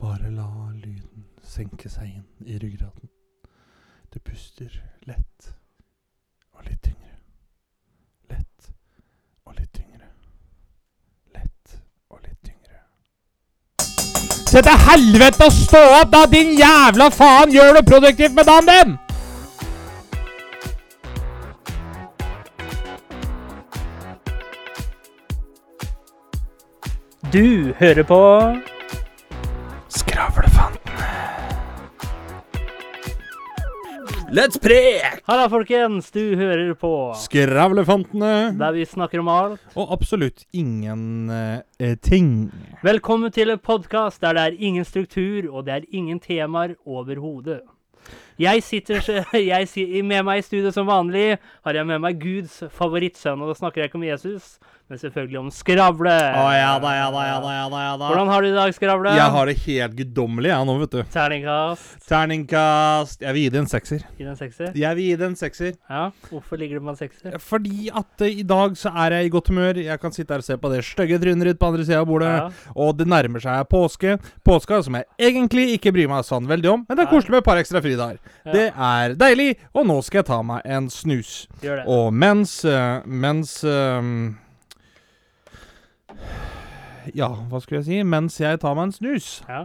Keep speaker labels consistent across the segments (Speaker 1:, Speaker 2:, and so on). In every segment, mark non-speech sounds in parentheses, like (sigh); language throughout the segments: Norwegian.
Speaker 1: Bare la lyden senke seg inn i ryggraden. Det puster lett og litt tyngre. Lett og litt tyngre. Lett og litt tyngre.
Speaker 2: Se til helvete å stå opp, da, din jævla faen! Gjør noe produktivt med dagen din!
Speaker 3: Du hører på
Speaker 1: Skravlefantene.
Speaker 4: Let's prek!
Speaker 3: Halla, folkens! Du hører på
Speaker 1: Skravlefantene.
Speaker 3: der vi snakker om alt.
Speaker 1: Og absolutt ingen eh, ting.
Speaker 3: Velkommen til en podkast der det er ingen struktur, og det er ingen temaer overhodet. Jeg sitter så- (laughs) jeg, si- med meg i studio som vanlig. Har jeg med meg Guds favorittsønn, og da snakker jeg ikke om Jesus, men selvfølgelig om Skravle.
Speaker 1: ja da, ja
Speaker 3: Eh, Hvordan har du det i dag, Skravle?
Speaker 1: Jeg har det helt guddommelig, jeg nå, vet du.
Speaker 3: Terningkast
Speaker 1: Terningkast Jeg vil gi det en sekser.
Speaker 3: i den sekser?
Speaker 1: Jeg vil gi det en sekser.
Speaker 3: Ja, hvorfor ligger det på en sekser?
Speaker 1: Fordi at eh, i dag så er jeg i godt humør. Jeg kan sitte her og se på det stygge trynet ditt på andre sida av bordet.
Speaker 3: Ja.
Speaker 1: Og det nærmer seg påske. Påska som jeg egentlig ikke bryr meg sånn veldig om, men det er
Speaker 3: Nei.
Speaker 1: koselig med et par ekstra fridager.
Speaker 3: Ja.
Speaker 1: Det er deilig, og nå skal jeg ta meg en snus.
Speaker 3: Gjør det.
Speaker 1: Og mens eh, Mens eh, Ja, hva skulle jeg si? Mens jeg tar meg en snus.
Speaker 3: Ja.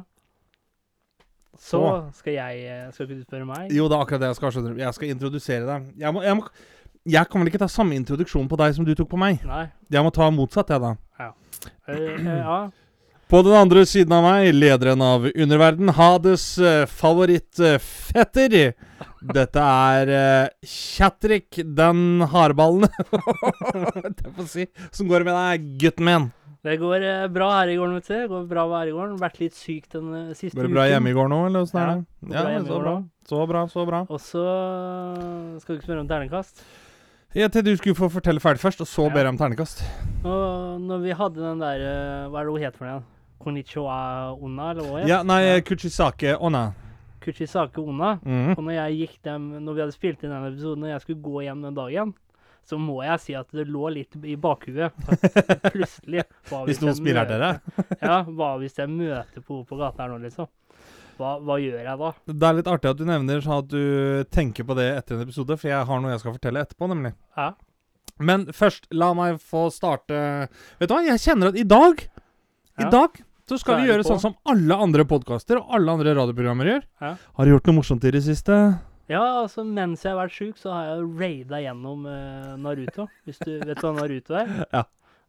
Speaker 3: Så skal jeg eh, Skal ikke du spørre meg?
Speaker 1: Jo, det er akkurat det jeg skal. skjønner du. Jeg skal introdusere deg. Jeg, må, jeg, må, jeg kan vel ikke ta samme introduksjon på deg som du tok på meg?
Speaker 3: Nei.
Speaker 1: Jeg må ta motsatt, jeg, da.
Speaker 3: Eh, eh, ja.
Speaker 1: På den andre siden av meg, lederen av underverden, Hades eh, favorittfetter. Dette er eh, Kjatrik, den hardballen (laughs) Det får si. Som går det med deg, gutten min?
Speaker 3: Det går eh, bra her i gården, vet du. Det går bra her i gården. Vært litt syk den eh, siste
Speaker 1: Går det
Speaker 3: uken.
Speaker 1: bra hjemme i går nå, eller åssen
Speaker 3: Ja,
Speaker 1: er det?
Speaker 3: går bra hjemme i
Speaker 1: så
Speaker 3: går
Speaker 1: bra.
Speaker 3: nå.
Speaker 1: Så bra, så bra.
Speaker 3: Og så eh, skal du ikke spørre om terningkast.
Speaker 1: Jeg tenkte du skulle få fortelle ferdig først, og så
Speaker 3: Ja.
Speaker 1: ber jeg om terningkast.
Speaker 3: Og når vi hadde den der eh, Hva er det hun het for noe igjen? Konnichiwa Onna, eller hva het
Speaker 1: Ja, nei, Kuchisake Onna.
Speaker 3: Kuchisake Onna.
Speaker 1: Mm.
Speaker 3: Og når jeg gikk dem, når vi hadde spilt inn den episoden, og jeg skulle gå hjem den dagen, så må jeg si at det lå litt i bakhuet. at
Speaker 1: (laughs)
Speaker 3: Plutselig. hva
Speaker 1: Hvis
Speaker 3: jeg
Speaker 1: noen spiller
Speaker 3: møter-
Speaker 1: dere.
Speaker 3: Ja, hva hvis jeg møter på henne på gata her nå, liksom? Hva, hva gjør jeg da?
Speaker 1: Det er litt artig at du nevner sånn at du tenker på det etter en episode, for jeg har noe jeg skal fortelle etterpå, nemlig.
Speaker 3: Ja.
Speaker 1: Men først, la meg få starte Vet du hva, jeg kjenner at i dag I
Speaker 3: Ja.
Speaker 1: dag så skal
Speaker 3: Så er
Speaker 1: vi
Speaker 3: det
Speaker 1: gjøre
Speaker 3: på.
Speaker 1: sånn som alle andre podkaster og alle andre radioprogrammer gjør.
Speaker 3: Ja.
Speaker 1: Har du gjort noe morsomt i det siste?
Speaker 3: Ja, altså mens jeg har vært sjuk, så har jeg raida gjennom eh, Naruto. Hvis du vet hva Naruto er?
Speaker 1: (laughs) Ja.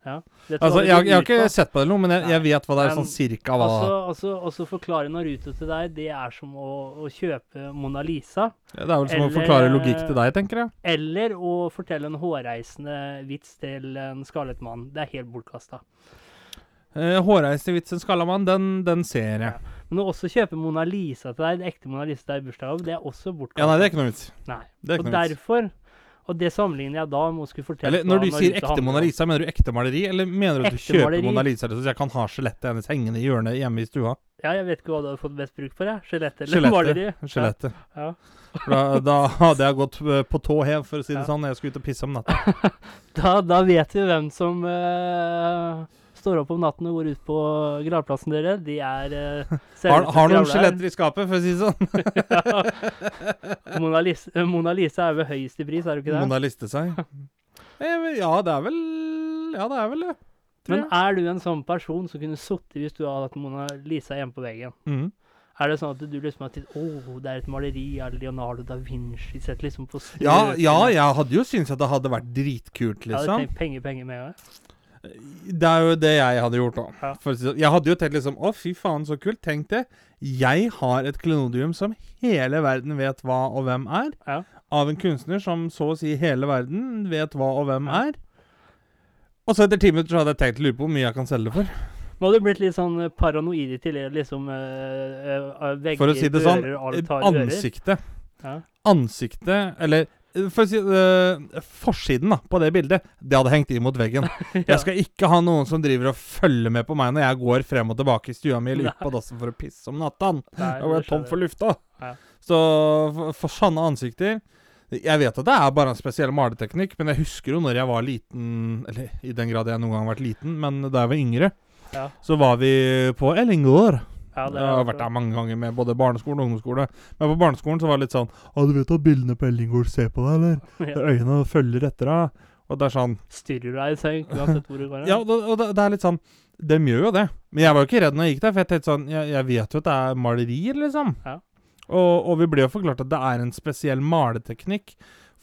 Speaker 3: ja. Vet du hva
Speaker 1: Altså,
Speaker 3: det
Speaker 1: jeg, har-
Speaker 3: går
Speaker 1: jeg har
Speaker 3: ut
Speaker 1: ikke
Speaker 3: på?
Speaker 1: sett på det eller noe, men jeg,
Speaker 3: Nei.
Speaker 1: jeg vet hva det er
Speaker 3: Men-
Speaker 1: sånn cirka hva
Speaker 3: Altså, altså, altså forklare Naruto til deg, det er som å, å kjøpe Mona Lisa.
Speaker 1: Det er vel som å
Speaker 3: eller-
Speaker 1: forklare logikk til deg, tenker jeg.
Speaker 3: Eller å fortelle en hårreisende vits til en skallet mann. Det er helt bortkasta.
Speaker 1: Eh, Hårreisevitsen Skallamann, den, den ser jeg.
Speaker 3: Men å også kjøpe Mona Lisa til deg, en ekte Mona Lisa til deg i bursdagsgave, det er også bortkasta.
Speaker 1: Ja, nei, det er ikke noe vits.
Speaker 3: Nei.
Speaker 1: Det er ikke
Speaker 3: og
Speaker 1: noe vits.
Speaker 3: derfor Og det sammenligner jeg da med å skulle fortelle
Speaker 1: Eller når
Speaker 3: hva
Speaker 1: du sier
Speaker 3: Naruto
Speaker 1: ekte
Speaker 3: handler om.
Speaker 1: Mona Lisa, mener du ekte maleri? Eller mener du at du
Speaker 3: Ekte
Speaker 1: kjøper
Speaker 3: maleri.
Speaker 1: Mona Lisa liksom, så jeg kan ha skjelettet hennes hengende i hjørnet hjemme i stua?
Speaker 3: Ja, jeg vet ikke hva du hadde fått best bruk for, jeg. Skjelettet eller (laughs) maleri?
Speaker 1: Skjelettet. Skjelettet.
Speaker 3: Ja.
Speaker 1: For Da, da hadde jeg gått eh, på tå hev, for å si det
Speaker 3: Ja.
Speaker 1: sånn, når jeg skulle ut og pisse om natta.
Speaker 3: Da, da vet vi hvem som eh, står opp om natten og går ut på gravplassen dere. De er
Speaker 1: (laughs)
Speaker 3: uh,
Speaker 1: Har, har noen skjeletter i skapet, for å si det sånn?
Speaker 3: Mona Lisa, eh, Mona Lisa er ved høyest i pris, er du ikke det?
Speaker 1: Mona liste
Speaker 3: (laughs)
Speaker 1: seg. Eh, men Ja, det er vel Ja, det er vel det. tror
Speaker 3: Men er du en sånn person som kunne sittet hvis du hadde hatt Mona Lisa hjemme på veggen?
Speaker 1: Mm.
Speaker 3: Er det sånn at du liksom har tenkt Å, det er et maleri av Leonardo da Vinci sett liksom på strøk?
Speaker 1: Ja, ja, jeg hadde jo syntes at det hadde vært dritkult,
Speaker 3: Jeg hadde
Speaker 1: liksom.
Speaker 3: tenkt penger, penger med en gang.
Speaker 1: Det er jo det jeg hadde gjort òg.
Speaker 3: Ja.
Speaker 1: Jeg hadde jo tenkt liksom Å, fy faen, så kult. Tenk det. Jeg har et klenodium som hele verden vet hva og hvem er.
Speaker 3: Ja.
Speaker 1: Av en kunstner som så å si hele verden vet hva og hvem
Speaker 3: Ja.
Speaker 1: er. Og så etter ti minutter så hadde jeg tenkt å lure på hvor mye jeg kan selge det for.
Speaker 3: Nå hadde du blitt litt sånn eh, paranoid i tillegg, liksom eh, eh, vegger,
Speaker 1: For å si det sånn,
Speaker 3: dører, alt har ører.
Speaker 1: ansiktet
Speaker 3: Ja.
Speaker 1: Ansiktet, eller eh, for å si, eh, forsiden da, på det bildet, det hadde hengt inn mot veggen.
Speaker 3: (laughs) Ja.
Speaker 1: Jeg skal ikke ha noen som driver og følger med på meg når jeg går frem og tilbake i stua mi eller ut på dassen for å pisse om natta.
Speaker 3: Nei,
Speaker 1: Da ble
Speaker 3: det
Speaker 1: jeg tom
Speaker 3: skjønner
Speaker 1: for
Speaker 3: jeg.
Speaker 1: lufta.
Speaker 3: Ja.
Speaker 1: Så for, for sånne ansikter Jeg vet at det er bare en spesiell maleteknikk, men jeg husker jo når jeg var liten Eller i den grad jeg noen gang har vært liten, men da jeg var yngre,
Speaker 3: Ja.
Speaker 1: så var vi på Ellingård.
Speaker 3: Ja, det
Speaker 1: Jeg har vært der mange ganger med både barneskolen og ungdomsskole. Men på barneskolen så var det litt sånn Å, du vet at bildene på Ellingård ser på deg, eller?
Speaker 3: (laughs) Ja.
Speaker 1: Øynene søller etter deg. Og det er sånn
Speaker 3: Styrer deg i seng uansett hvor du går.
Speaker 1: Ja, og det, og det, det er litt sånn De gjør jo det. Men jeg var jo ikke redd når jeg gikk der, for jeg tenkte sånn Jeg, jeg vet jo at det er malerier, liksom.
Speaker 3: Ja.
Speaker 1: Og, og vi ble jo forklart at det er en spesiell maleteknikk.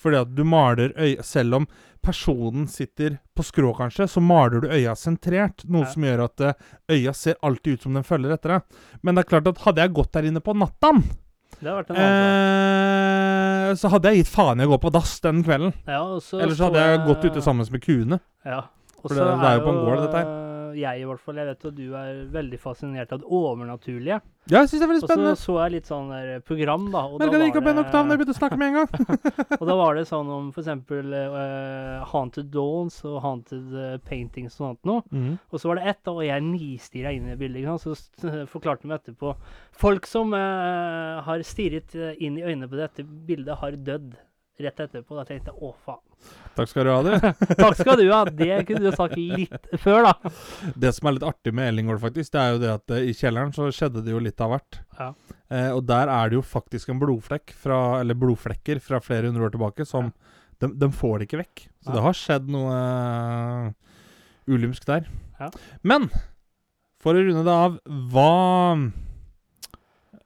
Speaker 1: Fordi at du maler øy... Selv om personen sitter på skrå, kanskje, så maler du øya sentrert. Noe
Speaker 3: Ja.
Speaker 1: som gjør at eh, øya ser alltid ut som den følger etter deg. Men det er klart at hadde jeg gått der inne på nattan,
Speaker 3: Det har vært en annen.
Speaker 1: eh, så hadde jeg gitt faen i å gå på dass den kvelden.
Speaker 3: dag. Ja, og så
Speaker 1: Eller så
Speaker 3: så
Speaker 1: hadde jeg
Speaker 3: jeg-
Speaker 1: gått ute sammen med kuene.
Speaker 3: Ja. Og
Speaker 1: For
Speaker 3: så
Speaker 1: det- det er jo på en gård, dette
Speaker 3: eh, Jeg i hvert fall, jeg vet at du er veldig fascinert av det overnaturlige.
Speaker 1: Ja, jeg syns det er veldig
Speaker 3: Og så
Speaker 1: spennende.
Speaker 3: så jeg litt sånn der program, da. Og, da
Speaker 1: Merka det gikk opp en
Speaker 3: var
Speaker 1: oktav når jeg
Speaker 3: det,
Speaker 1: begynte å snakke med en (laughs) gang.
Speaker 3: og da var det sånn om for eksempel eh, Haunted Dawns og Haunted eh, Paintings og sånt noe.
Speaker 1: Mhm.
Speaker 3: Og så var det ett, da, og jeg nistirra inn i bildet. ikke sant? Så st- forklarte de etterpå Folk som eh, har stirret eh, inn i øynene på dette bildet, har dødd rett etterpå. Da tenkte jeg å, faen.
Speaker 1: Takk skal du ha, (laughs) du.
Speaker 3: Takk skal du ha! Det kunne du ha sagt litt før, da.
Speaker 1: Det som er litt artig med Ellingård, faktisk, det er jo det at eh, i kjelleren så skjedde det jo litt av hvert.
Speaker 3: Ja.
Speaker 1: Eh, og der er det jo faktisk en blodflekk fra, eller blodflekker fra flere hundre år tilbake som de, de får det ikke vekk. Så
Speaker 3: Nei.
Speaker 1: det har skjedd noe eh, ulymsk der.
Speaker 3: Ja.
Speaker 1: Men for å runde det av, hva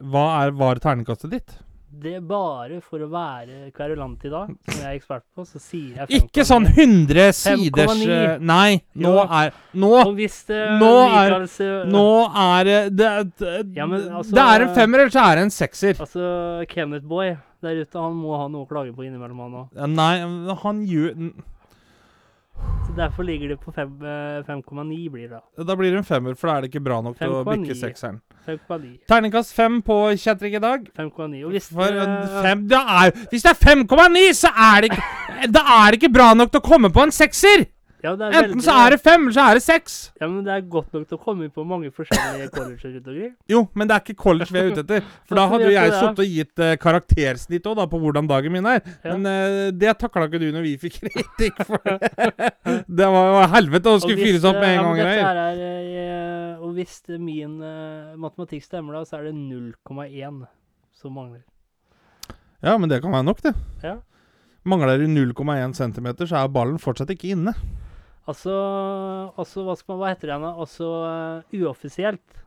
Speaker 1: Hva er, var terningkastet ditt?
Speaker 3: Det er bare for å være kverulant i dag, som jeg er ekspert på, så sier jeg
Speaker 1: Ikke
Speaker 3: 5,9.
Speaker 1: sånn 100 siders
Speaker 3: 5,9.
Speaker 1: eh, Nei, nå
Speaker 3: Jo.
Speaker 1: er Nå
Speaker 3: Og hvis det
Speaker 1: Nå er-
Speaker 3: Michaels, eh,
Speaker 1: Nå er det det, det,
Speaker 3: Ja, men altså-
Speaker 1: det er en femmer, eller så er det en sekser.
Speaker 3: Altså, Kenneth Boy der ute, han må ha noe å klage på innimellom, han òg.
Speaker 1: Ja, Nei, han gjør n-
Speaker 3: Så derfor ligger det på fem, eh, 5,9, blir det da.
Speaker 1: Da blir det en femmer, for da er det ikke bra nok til å
Speaker 3: 5,9.
Speaker 1: bikke sekseren.
Speaker 3: 5,9.
Speaker 1: Terningkast fem på Kjetrik i dag.
Speaker 3: 5,9. Og hvis eh,
Speaker 1: For
Speaker 3: det-
Speaker 1: en fem, det er, hvis det er 5,9, så er det ikke Da er det ikke bra nok til å komme på en sekser!
Speaker 3: Ja, det er
Speaker 1: Enten så er det fem, eller så er det seks.
Speaker 3: Ja, men det er godt nok til å komme inn på mange forskjellige colleger rundt omkring.
Speaker 1: Jo, men det er ikke college vi er ute
Speaker 3: (laughs)
Speaker 1: etter. For da
Speaker 3: Hvordan
Speaker 1: hadde
Speaker 3: vet
Speaker 1: jo
Speaker 3: du
Speaker 1: jeg
Speaker 3: det?
Speaker 1: sittet og gitt eh, karaktersnitt òg, da, på hvordan dagen min er.
Speaker 3: Ja.
Speaker 1: Men eh, det takla ikke du når vi fikk (laughs) kritikk for det. det var jo helvete å
Speaker 3: Og
Speaker 1: skulle
Speaker 3: hvis,
Speaker 1: fyres opp med
Speaker 3: eh,
Speaker 1: en
Speaker 3: ja, men
Speaker 1: gang.
Speaker 3: dette
Speaker 1: Geir.
Speaker 3: her er, eh, Og hvis det min eh, matematikk stemmer, da, så er det 0,1 som mangler.
Speaker 1: Ja, men det kan være nok, det.
Speaker 3: Ja.
Speaker 1: Mangler du 0,1 cm, så er ballen fortsatt ikke inne.
Speaker 3: Altså, altså hva skal man hva heter det igjen, da? Altså eh, uoffisielt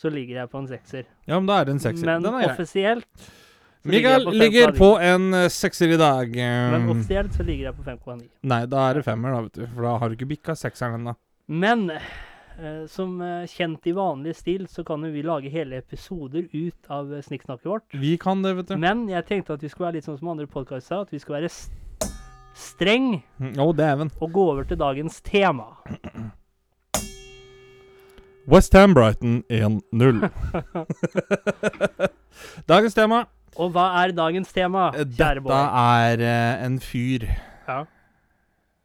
Speaker 3: så ligger jeg på en sekser.
Speaker 1: Ja, men da er det en sekser.
Speaker 3: Men
Speaker 1: Den er grei.
Speaker 3: offisielt så
Speaker 1: Mikael
Speaker 3: jeg
Speaker 1: ligger på en eh, sekser i dag.
Speaker 3: 5,9. Men
Speaker 1: Eh,
Speaker 3: offisielt så ligger jeg på 5,9.
Speaker 1: Nei, da er det femmer, da, vet du. For da har du ikke bikka sekseren ennå.
Speaker 3: Men eh, som eh, kjent i vanlig stil, så kan jo vi lage hele episoder ut av eh, snikksnakket vårt.
Speaker 1: Vi kan det, vet du.
Speaker 3: Men jeg tenkte at vi skulle være litt sånn som andre podkaster, at vi skulle være s- streng
Speaker 1: Å, dæven.
Speaker 3: og gå over til dagens tema.
Speaker 1: West Ham Brighton
Speaker 3: (laughs)
Speaker 1: 1-0. (laughs) Dagens tema
Speaker 3: Og hva er dagens tema,
Speaker 1: eh,
Speaker 3: Ah, kjære
Speaker 1: Dette
Speaker 3: Bård?
Speaker 1: er eh, en fyr.
Speaker 3: Ja.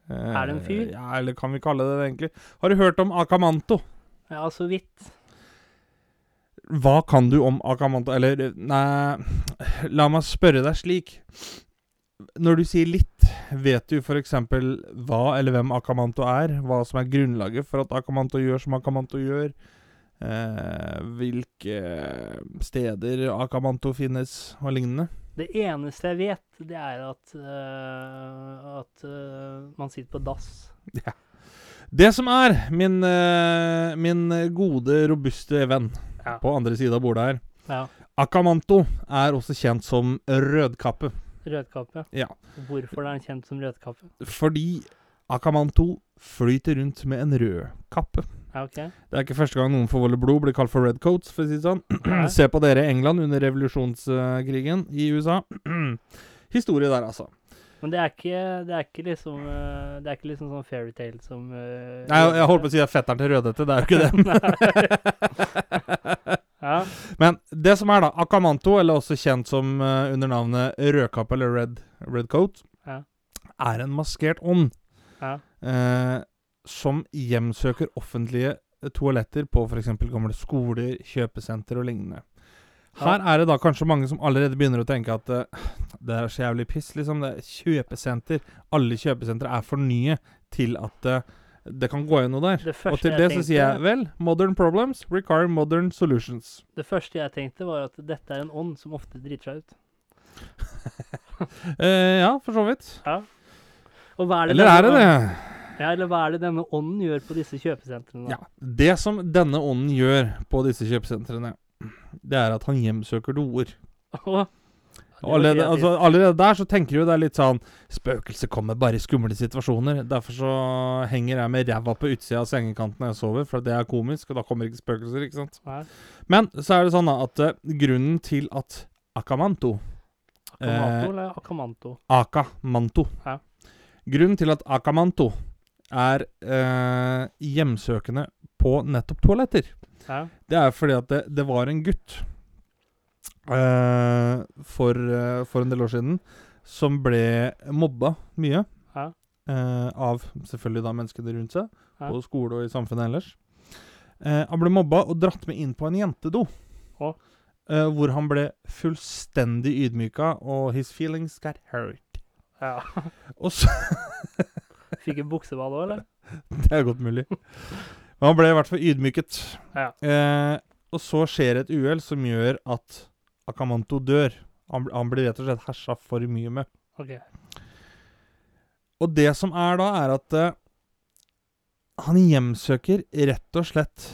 Speaker 1: Er
Speaker 3: det en fyr?
Speaker 1: Ja, eller kan vi kalle det det, egentlig? Har du hørt om Akamanto?
Speaker 3: ja, så vidt.
Speaker 1: Hva kan du om Akamanto? Eller, nei La meg spørre deg slik. Når du sier litt, vet du f.eks. hva eller hvem Akamanto er? Hva som er grunnlaget for at Akamanto gjør som Akamanto gjør? Eh, hvilke steder Akamanto finnes, og lignende?
Speaker 3: Det eneste jeg vet, det er at øh, at øh, man sitter på dass.
Speaker 1: Det som er min, eh, min gode, robuste venn
Speaker 3: Ja.
Speaker 1: på andre sida av bordet her
Speaker 3: Ja.
Speaker 1: Akamanto er også kjent som rødkappe.
Speaker 3: Rødkappe.
Speaker 1: Ja.
Speaker 3: Hvorfor er den kjent som rødkappe?
Speaker 1: Fordi Akamanto flyter rundt med en rød kappe.
Speaker 3: Ja, OK.
Speaker 1: Det er ikke første gang noen forvolder blod blir kalt for redcoats, for å si det sånn.
Speaker 3: Nei.
Speaker 1: (clears throat) Se på dere i England under revolusjonskrigen i USA. (clears throat) Historie der, altså.
Speaker 3: Men det er ikke, det er ikke liksom øh, Det er ikke liksom sånn fairytale som øh,
Speaker 1: Nei, jeg, jeg holdt på å si at fetteren til Rødhette, det er jo ikke det.
Speaker 3: Ja.
Speaker 1: Men det som er, da Akamanto, eller også kjent som eh, under navnet Rødkappe eller Red, Red Coat,
Speaker 3: Ja.
Speaker 1: er en maskert ånd
Speaker 3: Ja.
Speaker 1: eh, som hjemsøker offentlige eh, toaletter på f.eks. gamle skoler, kjøpesenter og lignende. Her er det da kanskje mange som allerede begynner å tenke at eh, det er så jævlig piss, liksom. Det er kjøpesenter. Alle kjøpesentre er for nye til at eh, Det kan gå igjen noe der.
Speaker 3: Det første
Speaker 1: Og til
Speaker 3: jeg
Speaker 1: det så
Speaker 3: tenkte-
Speaker 1: sier jeg vel Modern problems require modern solutions.
Speaker 3: Det første jeg tenkte, var at dette er en ånd som ofte driter seg ut.
Speaker 1: Eh, ja, for så vidt.
Speaker 3: Og hva er det
Speaker 1: Eller er det
Speaker 3: denne-
Speaker 1: det?
Speaker 3: Ja, eller hva er det denne ånden gjør på disse kjøpesentrene? da?
Speaker 1: Ja.
Speaker 3: (laughs)
Speaker 1: Det som denne ånden gjør på disse kjøpesentrene, det er at han hjemsøker doer.
Speaker 3: Åh,
Speaker 1: Og allerede,
Speaker 3: det var
Speaker 1: altså, allerede der så tenker du det er litt sånn Spøkelset kommer bare i skumle situasjoner. Derfor så henger jeg med ræva på utsida av sengekanten når jeg sover, for det er komisk, og da kommer ikke spøkelser, ikke sant?
Speaker 3: Nei.
Speaker 1: Men så er det sånn da at eh, grunnen til at Akamanto eh,
Speaker 3: Akamanto, eller Akamanto?
Speaker 1: Akamanto.
Speaker 3: Ja.
Speaker 1: Grunnen til at Akamanto er eh, hjemsøkende på nettopp toaletter,
Speaker 3: Ja.
Speaker 1: det er fordi at det, det var en gutt eh, for, eh, for en del år siden som ble mobba mye.
Speaker 3: Ja.
Speaker 1: eh, av selvfølgelig da menneskene rundt seg,
Speaker 3: Ja.
Speaker 1: på skole og i samfunnet ellers. Eh, han ble mobba og dratt med inn på en jentedo.
Speaker 3: Å.
Speaker 1: eh, hvor han ble fullstendig ydmyka, og his feelings got hurt.
Speaker 3: ja.
Speaker 1: Og så
Speaker 3: Fikk en bukseball òg, eller?
Speaker 1: (laughs) Det er godt mulig. Men han ble i hvert fall ydmyket.
Speaker 3: Ja.
Speaker 1: Eh, og så skjer et uhell som gjør at Akamanto dør. Han, bl- han blir rett og slett hersa for mye med.
Speaker 3: Ok.
Speaker 1: Og det som er da, er at eh, han hjemsøker rett og slett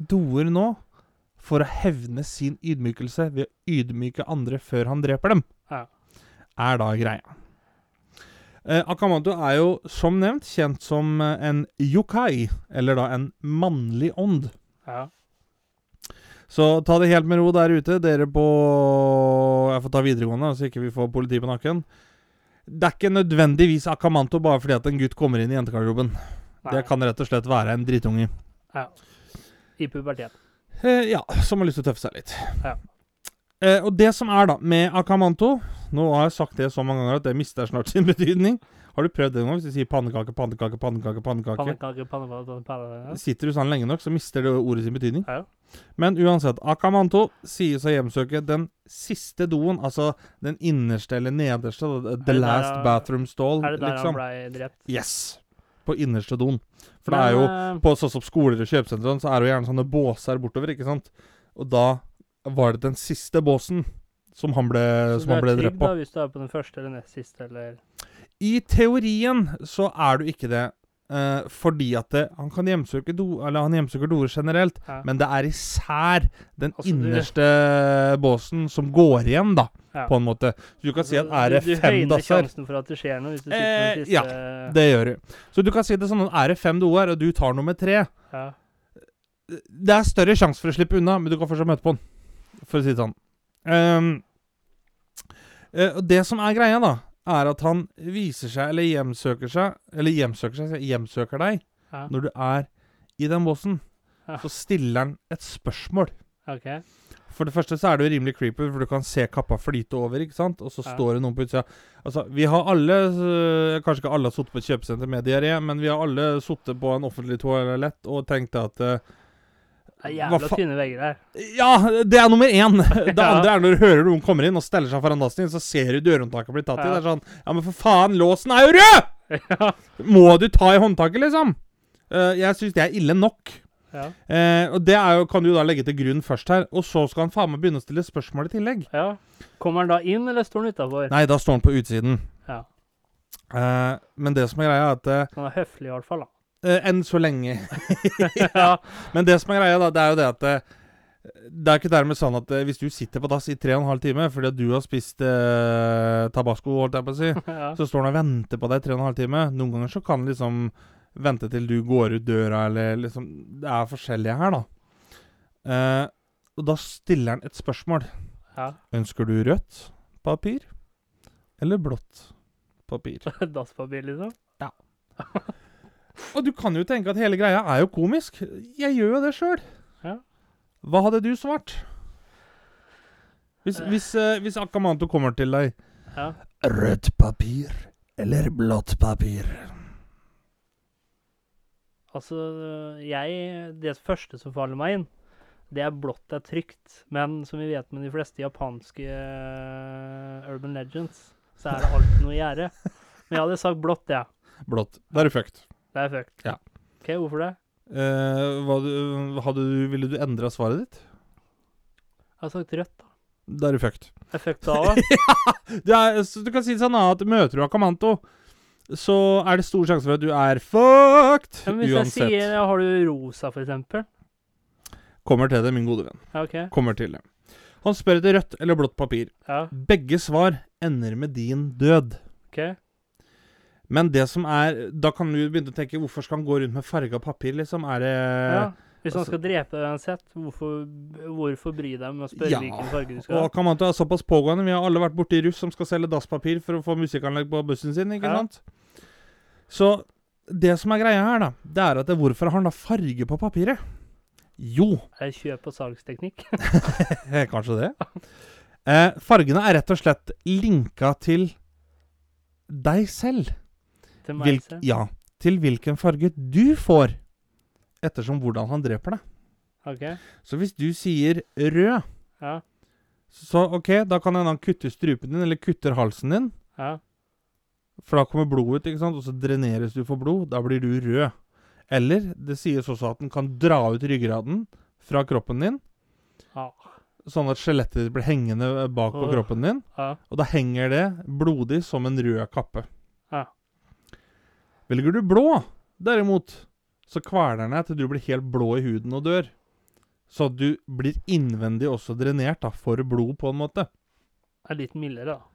Speaker 1: doer nå for å hevne sin ydmykelse ved å ydmyke andre før han dreper dem.
Speaker 3: Ja.
Speaker 1: Er da greia. Eh, Akamanto er jo som nevnt kjent som eh, en yokai, eller da en mannlig ånd.
Speaker 3: Ja.
Speaker 1: Så ta det helt med ro der ute, dere på Jeg får ta videregående, så ikke vi får politi på nakken. Det er ikke nødvendigvis akamanto bare fordi at en gutt kommer inn i jentegarderoben.
Speaker 3: Nei.
Speaker 1: Det kan rett og slett være en drittunge.
Speaker 3: I pubertet.
Speaker 1: Eh, ja, som har lyst til å tøffe seg litt.
Speaker 3: Ja.
Speaker 1: Eh, og det som er da med akamanto Nå har jeg sagt det så mange ganger at det mister snart sin betydning. Har du prøvd det noen gang? Hvis du sier pannekake, pannekake, pannekake, pannekake
Speaker 3: Pannekaker, pannekaker, pannekaker
Speaker 1: Sitter du sånn lenge nok, så mister det ordet sin betydning.
Speaker 3: Ja.
Speaker 1: Men uansett, Akamanto sies å hjemsøke den siste doen, altså den innerste eller nederste, the-
Speaker 3: det
Speaker 1: the
Speaker 3: der
Speaker 1: last
Speaker 3: han-
Speaker 1: bathroom stall,
Speaker 3: Er det der han
Speaker 1: liksom.
Speaker 3: blei drept?
Speaker 1: Yes! På innerste doen. For det er jo,
Speaker 3: Men, eh,
Speaker 1: på sånn som skoler og kjøpesentre, og sånn, så er det jo gjerne sånne båser bortover, ikke sant? Og da var det den siste båsen som han ble,
Speaker 3: eh, så
Speaker 1: som han
Speaker 3: du
Speaker 1: ble
Speaker 3: er trygg
Speaker 1: drept på.
Speaker 3: da hvis du er på den første eller nest siste, eller
Speaker 1: I teorien så er du ikke det, eh, fordi at det, han kan hjemsøke do, eller han hjemsøker doer generelt.
Speaker 3: ja.
Speaker 1: Men det er især den
Speaker 3: Altså, du-
Speaker 1: innerste båsen som går igjen, da,
Speaker 3: Ja. Altså,
Speaker 1: på en måte. Så du kan si at er det
Speaker 3: Du- du
Speaker 1: fem
Speaker 3: høyner
Speaker 1: dasser
Speaker 3: sjansen for at det skjer noe hvis du sitter på den
Speaker 1: Eh,
Speaker 3: siste
Speaker 1: ja. Det gjør du. Så du kan si det sånn at er det fem doer, og du tar nummer tre
Speaker 3: ja.
Speaker 1: Det er større sjanse for å slippe unna, men du kan fortsatt møte på den, for å si det sånn. Ehm, eh, og det som er greia, da, er at han viser seg, eller hjemsøker seg Eller hjemsøker seg, sier jeg, hjemsøker deg
Speaker 3: Ja.
Speaker 1: når du er i den båsen.
Speaker 3: Ja.
Speaker 1: Så stiller han et spørsmål.
Speaker 3: OK.
Speaker 1: For det første så er det jo rimelig creepy, for du kan se kappa flyte over, ikke sant? Og så
Speaker 3: Ja.
Speaker 1: står det noen på utsida. Altså, vi har alle øh, Kanskje ikke alle har sittet på et kjøpesenter med diaré, men vi har alle sittet på en offentlig toalett og tenkt at øh,
Speaker 3: Det er
Speaker 1: Hva
Speaker 3: jævla
Speaker 1: fa-
Speaker 3: tynne vegger der.
Speaker 1: Ja, det er nummer
Speaker 3: (laughs)
Speaker 1: én! Det
Speaker 3: Ja.
Speaker 1: andre er når du hører noen kommer inn og steller seg foran dassen din, så ser du dørhåndtaket bli tatt i.
Speaker 3: Ja.
Speaker 1: Det er sånn Ja, men for faen, låsen er jo rød!
Speaker 3: ja.
Speaker 1: Må du ta i håndtaket, liksom? Eh, jeg syns det er ille nok.
Speaker 3: Ja.
Speaker 1: Eh, og det er jo, kan du da legge til grunn først her. Og så skal han faen meg begynne å stille spørsmål i tillegg.
Speaker 3: ja. Kommer han da inn, eller står han utafor?
Speaker 1: Nei, da står han på utsiden.
Speaker 3: Ja.
Speaker 1: Eh, men det som er greia, er at eh,
Speaker 3: Han er høflig i hvert fall, da. (laughs)
Speaker 1: eh, Enn så lenge.
Speaker 3: ja.
Speaker 1: Men det som er greia, da, det er jo det at eh, Det er ikke dermed sånn at eh, hvis du sitter på dass i tre og en halv time fordi at du har spist eh, tabasco, holdt jeg på å si,
Speaker 3: ja. (laughs)
Speaker 1: så står han og venter på deg i tre og en halv time. Noen ganger så kan han liksom vente til du går ut døra, eller liksom Det er forskjellige her, da. Eh, og da stiller han et spørsmål.
Speaker 3: ja.
Speaker 1: Ønsker du rødt papir eller blått papir?
Speaker 3: Dasspapir, liksom.
Speaker 1: Og du kan jo tenke at hele greia er jo komisk. Jeg gjør jo det sjøl.
Speaker 3: Ja.
Speaker 1: Hva hadde du svart? Hvis, hvis, eh, hvis Akamanto kommer til deg
Speaker 3: Ja.
Speaker 4: Rødt papir eller blått papir?
Speaker 3: Altså, jeg Det første som faller meg inn, det er blått det er trygt. Men som vi vet med de fleste japanske eh, urban legends, så er det alltid noe i gjære. Men jeg hadde sagt blått, jeg.
Speaker 1: Blått. Da er du fucked.
Speaker 3: Det er fucked.
Speaker 1: Ja.
Speaker 3: OK, hvorfor det?
Speaker 1: Eh, hva du, hadde du, ville du endra svaret ditt?
Speaker 3: Jeg har sagt rødt, da.
Speaker 1: Da er du fucked.
Speaker 3: Jeg er fucked av
Speaker 1: (laughs)
Speaker 3: det.
Speaker 1: Det er, så du kan si det sånn at møter du Akamanto, så er det stor sjanse for at du er fucked!
Speaker 3: Ja, men hvis
Speaker 1: uansett.
Speaker 3: jeg sier ja, har du rosa, for eksempel
Speaker 1: Kommer til det, min gode venn.
Speaker 3: Ja, OK.
Speaker 1: Kommer til det. Han spør etter rødt eller blått papir.
Speaker 3: Ja,
Speaker 1: Begge svar ender med din død.
Speaker 3: ok.
Speaker 1: Men det som er Da kan du begynne å tenke hvorfor skal han gå rundt med farga papir, liksom? Er det
Speaker 3: Ja. Hvis han
Speaker 1: altså-
Speaker 3: skal drepe deg uansett, hvorfor, hvorfor bry deg med å spørre
Speaker 1: Ja,
Speaker 3: hvilken farge du
Speaker 1: Og
Speaker 3: skal ha?
Speaker 1: Akamanto er såpass pågående. Vi har alle vært borti russ som skal selge dasspapir for å få musikkanlegg på bussen sin, ikke
Speaker 3: Ja.
Speaker 1: sant? Så det som er greia her, da, det er at det, hvorfor har han da farge på papiret? Jo, (laughs)
Speaker 3: Er det kjøp- og salgsteknikk? (laughs)
Speaker 1: eh, kanskje det. Eh, fargene er rett og slett linka til deg selv.
Speaker 3: Til meg
Speaker 1: Hvilk,
Speaker 3: selv?
Speaker 1: ja, til hvilken farge du får, ettersom hvordan han dreper deg.
Speaker 3: OK.
Speaker 1: Så hvis du sier rød,
Speaker 3: Ja.
Speaker 1: så OK, da kan hende han kutter strupen din, eller kutter halsen din.
Speaker 3: Ja.
Speaker 1: For da kommer blodet ut, ikke sant? og så dreneres du for blod. Da blir du rød. Eller det sies også at den kan dra ut ryggraden fra kroppen din,
Speaker 3: Ja.
Speaker 1: sånn at skjelettet ditt blir hengende bak på
Speaker 3: Åh.
Speaker 1: kroppen din.
Speaker 3: ja.
Speaker 1: Og da henger det blodig som en rød kappe.
Speaker 3: Ja.
Speaker 1: Velger du blå, derimot, så kveler den deg til du blir helt blå i huden og dør. Så at du blir innvendig også drenert da, for blod, på en måte.
Speaker 3: Er litt mildere, da.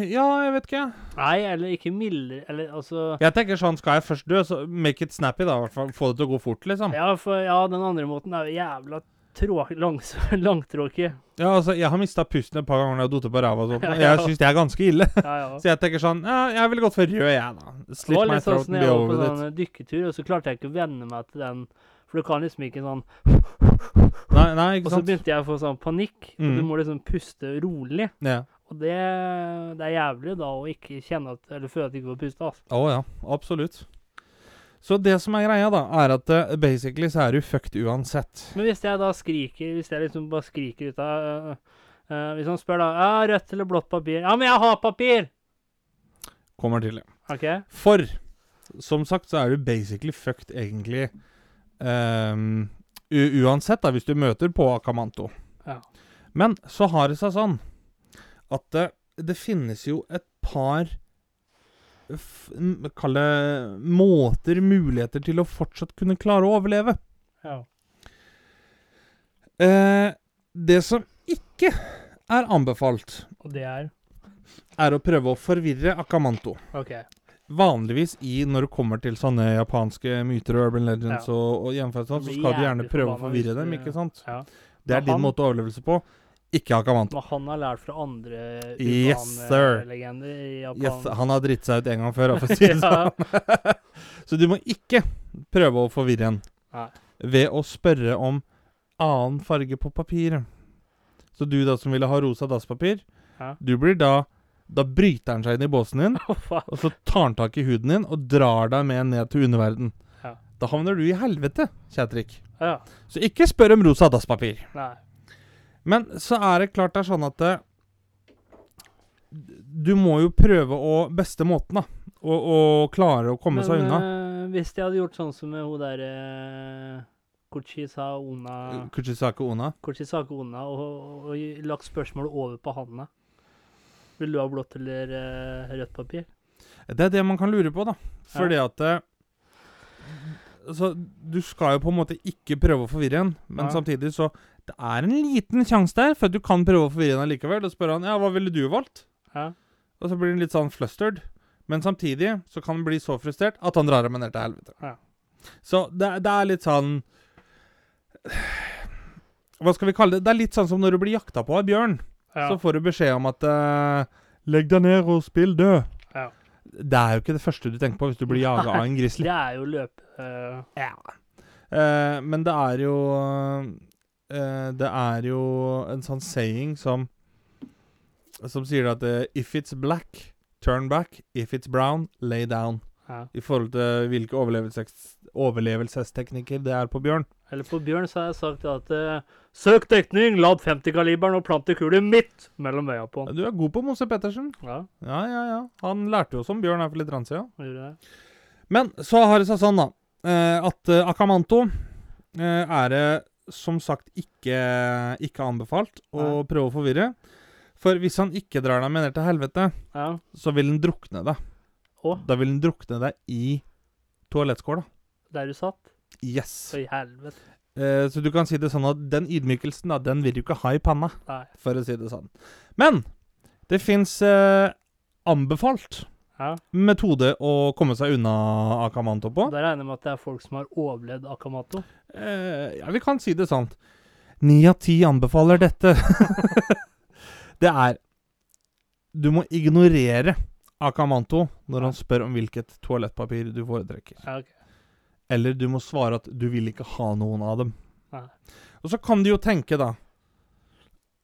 Speaker 1: Ja, jeg vet ikke, jeg.
Speaker 3: Nei, eller ikke mildere Eller altså
Speaker 1: Jeg tenker sånn, skal jeg først dø, så make it snappy, da. i hvert fall. Få det til å gå fort, liksom. Ja,
Speaker 3: Ja, for ja, den andre måten er jo jævla trå langs (laughs) langtråkig.
Speaker 1: altså, Jeg har mista pusten et par ganger når jeg har datt på ræva og sånt,
Speaker 3: Ja,
Speaker 1: og
Speaker 3: ja.
Speaker 1: jeg syns det er ganske ille. (laughs)
Speaker 3: Ja, ja.
Speaker 1: Så jeg tenker sånn ja, Jeg ville gått for rød, jeg, da.
Speaker 3: Det var
Speaker 1: Slit my
Speaker 3: litt sånn
Speaker 1: throat
Speaker 3: som
Speaker 1: and
Speaker 3: jeg
Speaker 1: be
Speaker 3: var på
Speaker 1: over with it.
Speaker 3: sånn dykketur, og så klarte jeg ikke å venne meg til den. For du kan liksom ikke sånn
Speaker 1: Nei, nei,
Speaker 3: Og
Speaker 1: ikke
Speaker 3: så
Speaker 1: sant?
Speaker 3: begynte jeg å få sånn panikk. og Du
Speaker 1: Mm.
Speaker 3: må liksom puste rolig.
Speaker 1: Ja.
Speaker 3: Og det, det er jævlig da å ikke kjenne at Eller føle at du ikke får puste, altså.
Speaker 1: Å ja, absolutt. Så det som er greia, da, er at eh, basically så er du fucked uansett.
Speaker 3: Men hvis jeg da skriker Hvis jeg liksom bare skriker ut av øh, øh, Hvis han spør da Ja, rødt eller blått papir? Ja, men jeg har papir!
Speaker 1: Kommer til det.
Speaker 3: OK?
Speaker 1: For som sagt så er du basically fucked egentlig ehm, u uansett, da, hvis du møter på Akamanto.
Speaker 3: Ja.
Speaker 1: Men så har det seg sånn at det, det finnes jo et par f- m- Kall det måter, muligheter til å fortsatt kunne klare å overleve.
Speaker 3: Ja.
Speaker 1: Eh, det som ikke er anbefalt,
Speaker 3: Og det er
Speaker 1: er å prøve å forvirre Akamanto.
Speaker 3: OK.
Speaker 1: Vanligvis i når det kommer til sånne japanske myter og urban legends
Speaker 3: Ja.
Speaker 1: og, og hjemfest, og sånt, så
Speaker 3: Blir
Speaker 1: skal du gjerne
Speaker 3: jævlig
Speaker 1: prøve å
Speaker 3: forbanna
Speaker 1: forvirre
Speaker 3: hvis
Speaker 1: dem,
Speaker 3: du-
Speaker 1: ikke sant?
Speaker 3: Ja.
Speaker 1: Det er
Speaker 3: Men
Speaker 1: din
Speaker 3: han-
Speaker 1: måte å overlevelse på. Ikke Akamanto.
Speaker 3: Men han har lært fra andre
Speaker 1: Yes, sir.
Speaker 3: legender i Japan.
Speaker 1: Yes, han har dritt seg ut en gang før, da, for å si
Speaker 3: (laughs)
Speaker 1: det
Speaker 3: Ja.
Speaker 1: sånn. så du må ikke prøve å forvirre en
Speaker 3: Nei.
Speaker 1: ved å spørre om annen farge på papiret. Så du da som ville ha rosa dasspapir,
Speaker 3: Ja.
Speaker 1: du blir da Da bryter han seg inn i båsen din,
Speaker 3: Å, faen.
Speaker 1: og så tar han tak i huden din og drar deg med ned til underverden.
Speaker 3: Ja.
Speaker 1: Da havner du i helvete, Kjætrik.
Speaker 3: Ja.
Speaker 1: Så ikke spør om rosa dasspapir.
Speaker 3: Nei.
Speaker 1: Men så er det klart det er sånn at eh, Du må jo prøve å Beste måten, da. Å, å klare å komme seg unna.
Speaker 3: eh, hvis de hadde gjort sånn som med hun derre uh, Kuchisa Ona
Speaker 1: Kuchisake Ona.
Speaker 3: Kuchisake Ona og, og, og lagt spørsmålet over på Hanna. Vil du ha blått eller eh, rødt papir?
Speaker 1: Det er det man kan lure på, da. Fordi at eh, Altså, du skal jo på en måte ikke prøve å forvirre en, men
Speaker 3: Ja.
Speaker 1: samtidig så Det er en liten sjanse der, for at du kan prøve å forvirre en allikevel. Og spørre han ja, hva ville du valgt?
Speaker 3: Ja.
Speaker 1: Og så blir han litt sånn flustered. Men samtidig så kan han bli så frustrert at han drar ham ned til helvete.
Speaker 3: Ja.
Speaker 1: Så det, det er litt sånn Hva skal vi kalle det? Det er litt sånn som når du blir jakta på av bjørn.
Speaker 3: Ja.
Speaker 1: Så får du beskjed om at eh, Legg deg ned og spill død.
Speaker 3: Ja.
Speaker 1: Det er jo ikke det første du tenker på hvis du blir jaga
Speaker 3: (laughs)
Speaker 1: av en grizzly.
Speaker 3: Det er jo løp... eh,
Speaker 1: Eh, men det er jo eh, Det er jo en sånn saying som Som sier at eh, If it's black, turn back. If it's brown, lay down.
Speaker 3: ja.
Speaker 1: I forhold til hvilke overlevelses overlevelsesteknikker det er på bjørn.
Speaker 3: Eller på Bjørn så har jeg sagt at eh, Søk dekning, lad 50-kaliberen og plant i kulet midt mellom øya på han.
Speaker 1: Du er god på Mose Pettersen.
Speaker 3: Ja,
Speaker 1: Ja, ja, ja. Han lærte jo oss om bjørn her for litt rann siden.
Speaker 3: han gjorde det.
Speaker 1: Men så har det seg sånn, da, eh, at eh, Akamanto eh, er det som sagt ikke, ikke anbefalt å prøve å forvirre. For hvis han ikke drar deg med ned til helvete,
Speaker 3: Ja.
Speaker 1: så vil han drukne deg.
Speaker 3: Å,
Speaker 1: Da vil han drukne deg i toalettskåla.
Speaker 3: der du satt?
Speaker 1: Yes.
Speaker 3: Så i helvete.
Speaker 1: Eh, så du kan si det sånn at den ydmykelsen, da, den vil du ikke ha i panna,
Speaker 3: Nei.
Speaker 1: for å si det sånn. Men det fins eh, anbefalt
Speaker 3: Ja.
Speaker 1: metode å komme seg unna Akamanto på.
Speaker 3: Da regner jeg med at det er folk som har overlevd Akamato.
Speaker 1: Eh, ja, vi kan si det sant. Ni av ti anbefaler dette. (laughs) det er Du må ignorere Akamanto når han spør om hvilket toalettpapir du foretrekker.
Speaker 3: Ja, ok.
Speaker 1: Eller du må svare at du vil ikke ha noen av dem.
Speaker 3: Nei.
Speaker 1: Og så kan du jo tenke, da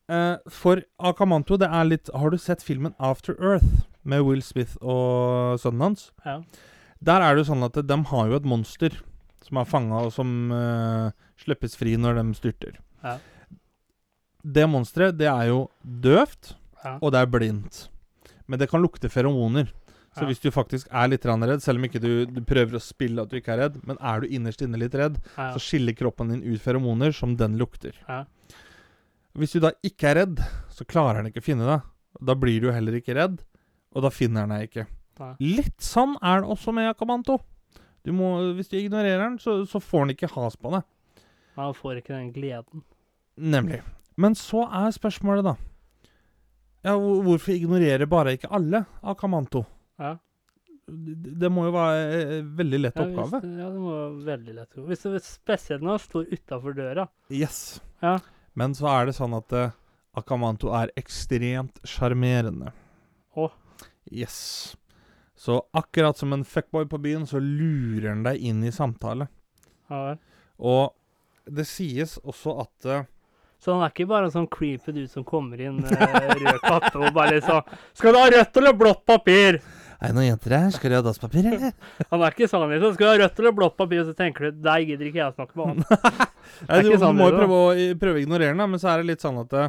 Speaker 1: eh, For Akamanto, det er litt Har du sett filmen After Earth med Will Smith og sønnen hans?
Speaker 3: Ja.
Speaker 1: Der er det jo sånn at de har jo et monster som er fanga, og som eh, slippes fri når de styrter.
Speaker 3: Ja.
Speaker 1: Det monsteret, det er jo døvt,
Speaker 3: Ja.
Speaker 1: og det er blindt. Men det kan lukte feromoner. Så
Speaker 3: Ja.
Speaker 1: hvis du faktisk er litt grann redd, selv om ikke du, du prøver å spille at du ikke er redd, men er du innerst inne litt redd,
Speaker 3: Ja.
Speaker 1: så skiller kroppen din ut feromoner som den lukter.
Speaker 3: Ja.
Speaker 1: Hvis du da ikke er redd, så klarer den ikke å finne deg. Da blir du heller ikke redd, og da finner den deg ikke.
Speaker 3: Nei.
Speaker 1: Litt sånn er det også med Akamanto. Du må, hvis du ignorerer den, så, så får den ikke has på deg.
Speaker 3: Man får ikke den gleden.
Speaker 1: Nemlig. Men så er spørsmålet, da ja, hvor- Hvorfor ignorerer bare ikke alle Akamanto?
Speaker 3: Ja.
Speaker 1: Det, det må jo være eh, veldig lett
Speaker 3: Ja,
Speaker 1: oppgave.
Speaker 3: Hvis, ja, det må være veldig lett å Hvis det spesielt når han står utafor døra.
Speaker 1: Yes.
Speaker 3: Ja.
Speaker 1: Men så er det sånn at eh, Akamanto er ekstremt sjarmerende.
Speaker 3: Å.
Speaker 1: Yes. Så akkurat som en fuckboy på byen, så lurer han deg inn i samtale.
Speaker 3: Ja. vel.
Speaker 1: Og det sies også at eh,
Speaker 3: Så han er ikke bare en sånn creepy dude som kommer inn med rød kappe og bare liksom 'Skal du ha rødt eller blått papir?'
Speaker 4: Er det noen jenter her? Skal de ha dasspapir,
Speaker 3: (laughs)
Speaker 4: eller?
Speaker 3: Han er ikke sånn liksom. 'Skal du ha rødt eller blått papir?' Og så tenker du 'Deg gidder ikke jeg å snakke
Speaker 1: (laughs)
Speaker 3: med han'.
Speaker 1: Nei,
Speaker 3: er
Speaker 1: du,
Speaker 3: ikke
Speaker 1: du
Speaker 3: sånn
Speaker 1: må jo
Speaker 3: det, da.
Speaker 1: prøve å, prøve å ignorere den, da, men så er det litt sånn at eh,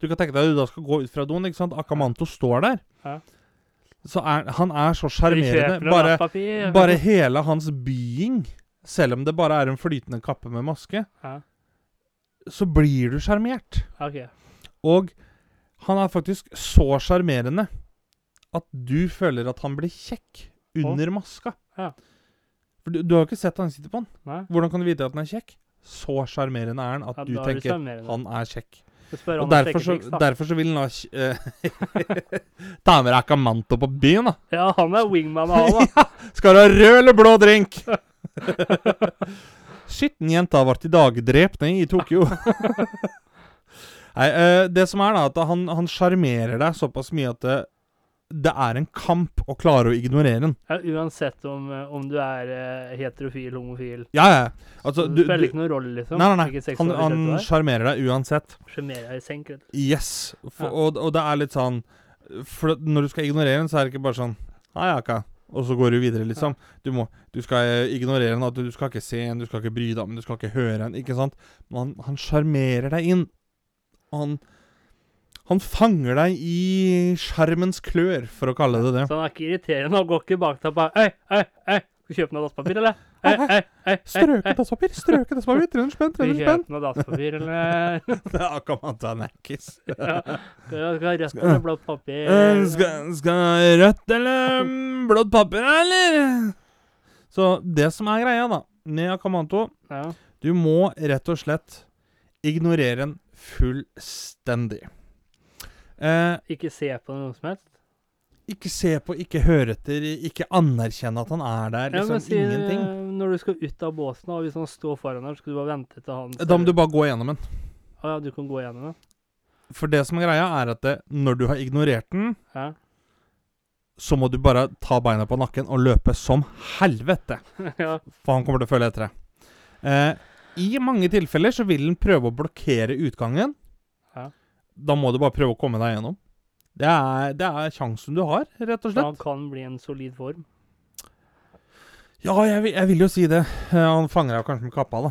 Speaker 1: du kan tenke deg at du da skal gå ut fra doen. ikke sant? Akamanto står der.
Speaker 3: Ja.
Speaker 1: Så er, han er så
Speaker 3: Vi kjøper
Speaker 1: sjarmerende.
Speaker 3: noe
Speaker 1: Bare,
Speaker 3: blått papir.
Speaker 1: bare hele hans bying, selv om det bare er en flytende kappe med maske,
Speaker 3: ja.
Speaker 1: så blir du sjarmert.
Speaker 3: OK.
Speaker 1: Og han er faktisk så sjarmerende at du føler at han blir kjekk under maska.
Speaker 3: Ja.
Speaker 1: For du, du har jo ikke sett ansiktet på han.
Speaker 3: Nei.
Speaker 1: Hvordan kan du vite at han er kjekk? Så sjarmerende er han at
Speaker 3: Ja,
Speaker 1: du
Speaker 3: da er det
Speaker 1: tenker
Speaker 3: sjarmerende.
Speaker 1: han er kjekk.
Speaker 3: Så
Speaker 1: Og
Speaker 3: spør han om
Speaker 1: derfor så,
Speaker 3: sjekketriks, da.
Speaker 1: derfor så vil han ha kj- eh, (laughs) Ta med deg Akamanto på byen, da.
Speaker 3: Ja, han er wingman av da.
Speaker 1: Skal du ha rød eller blå drink? (laughs) Skitten jenta ble i dag drept i (laughs) Tokyo. Nei, eh, det som er da, at han han sjarmerer deg såpass mye at det, det er en kamp å klare å ignorere den.
Speaker 3: Ja, uansett om, eh, om du er eh, heterofil, homofil.
Speaker 1: Ja, ja. Altså,
Speaker 3: det
Speaker 1: du,
Speaker 3: Mm, spiller
Speaker 1: du,
Speaker 3: ikke noen rolle, liksom.
Speaker 1: nei, nei, nei.
Speaker 3: Hvilken
Speaker 1: Han,
Speaker 3: seksualitet
Speaker 1: han
Speaker 3: du er.
Speaker 1: sjarmerer deg uansett.
Speaker 3: Sjemerer deg i senk, rett og slett.
Speaker 1: Yes. For,
Speaker 3: Ja.
Speaker 1: og, og det er litt sånn For at når du skal ignorere den, så er det ikke bare sånn Nei, ja, hva?» Og så går du videre, liksom. Du, må, du skal eh, ignorere den. At du, du skal ikke se den, du skal ikke bry deg om den, du skal ikke høre den. Ikke sant? Men han- han sjarmerer deg inn. Og han Han fanger deg i sjarmens klør, for å kalle det det.
Speaker 3: Så han er ikke irriterende. Han går ikke bak deg og bare Øy, øy, øy, skal du kjøpe noe dasspapir, eller? Øy,
Speaker 1: Hei,
Speaker 3: øy, øy, øy,
Speaker 1: Strøket dasspapir, strøket dasspapir. 300 spenn,
Speaker 3: skal du
Speaker 1: 300 spenn.
Speaker 3: kjøpe noe dasspapir, eller?
Speaker 1: (laughs) Det er akkurat det han er kiss.
Speaker 3: Ja. Skal du ha rødt eller blått papir?
Speaker 1: Eh, Skal, skal rødt
Speaker 3: (laughs)
Speaker 1: eller mm, blått papir, eller? Så det som er greia, da, med Akamanto
Speaker 3: Ja.
Speaker 1: Du må rett og slett ignorere den fullstendig. Eh,
Speaker 3: Ikke se på noe som helst?
Speaker 1: ikke se på, ikke høre etter, ikke anerkjenne at han er der.
Speaker 3: Ja,
Speaker 1: Liksom
Speaker 3: men si, eh,
Speaker 1: ingenting.
Speaker 3: Når du skal ut av båsen, og hvis han står foran deg, skal du bare vente til han
Speaker 1: Da må du bare gå gjennom den.
Speaker 3: Å ja, du kan gå gjennom det?
Speaker 1: For det som er greia, er at det, når du har ignorert den,
Speaker 3: Ja. (laughs)
Speaker 1: så må du bare ta beina på nakken og løpe som helvete.
Speaker 3: ja.
Speaker 1: For han kommer til å følge etter deg. Eh, I mange tilfeller så vil han prøve å blokkere utgangen.
Speaker 3: Ja.
Speaker 1: Da må du bare prøve å komme deg gjennom. Det er, det er sjansen du har, rett og
Speaker 3: Så
Speaker 1: slett.
Speaker 3: han kan bli en solid form.
Speaker 1: Ja, jeg, vil- jeg vil jo si det. Eh, Han fanger deg kanskje med kappa, da.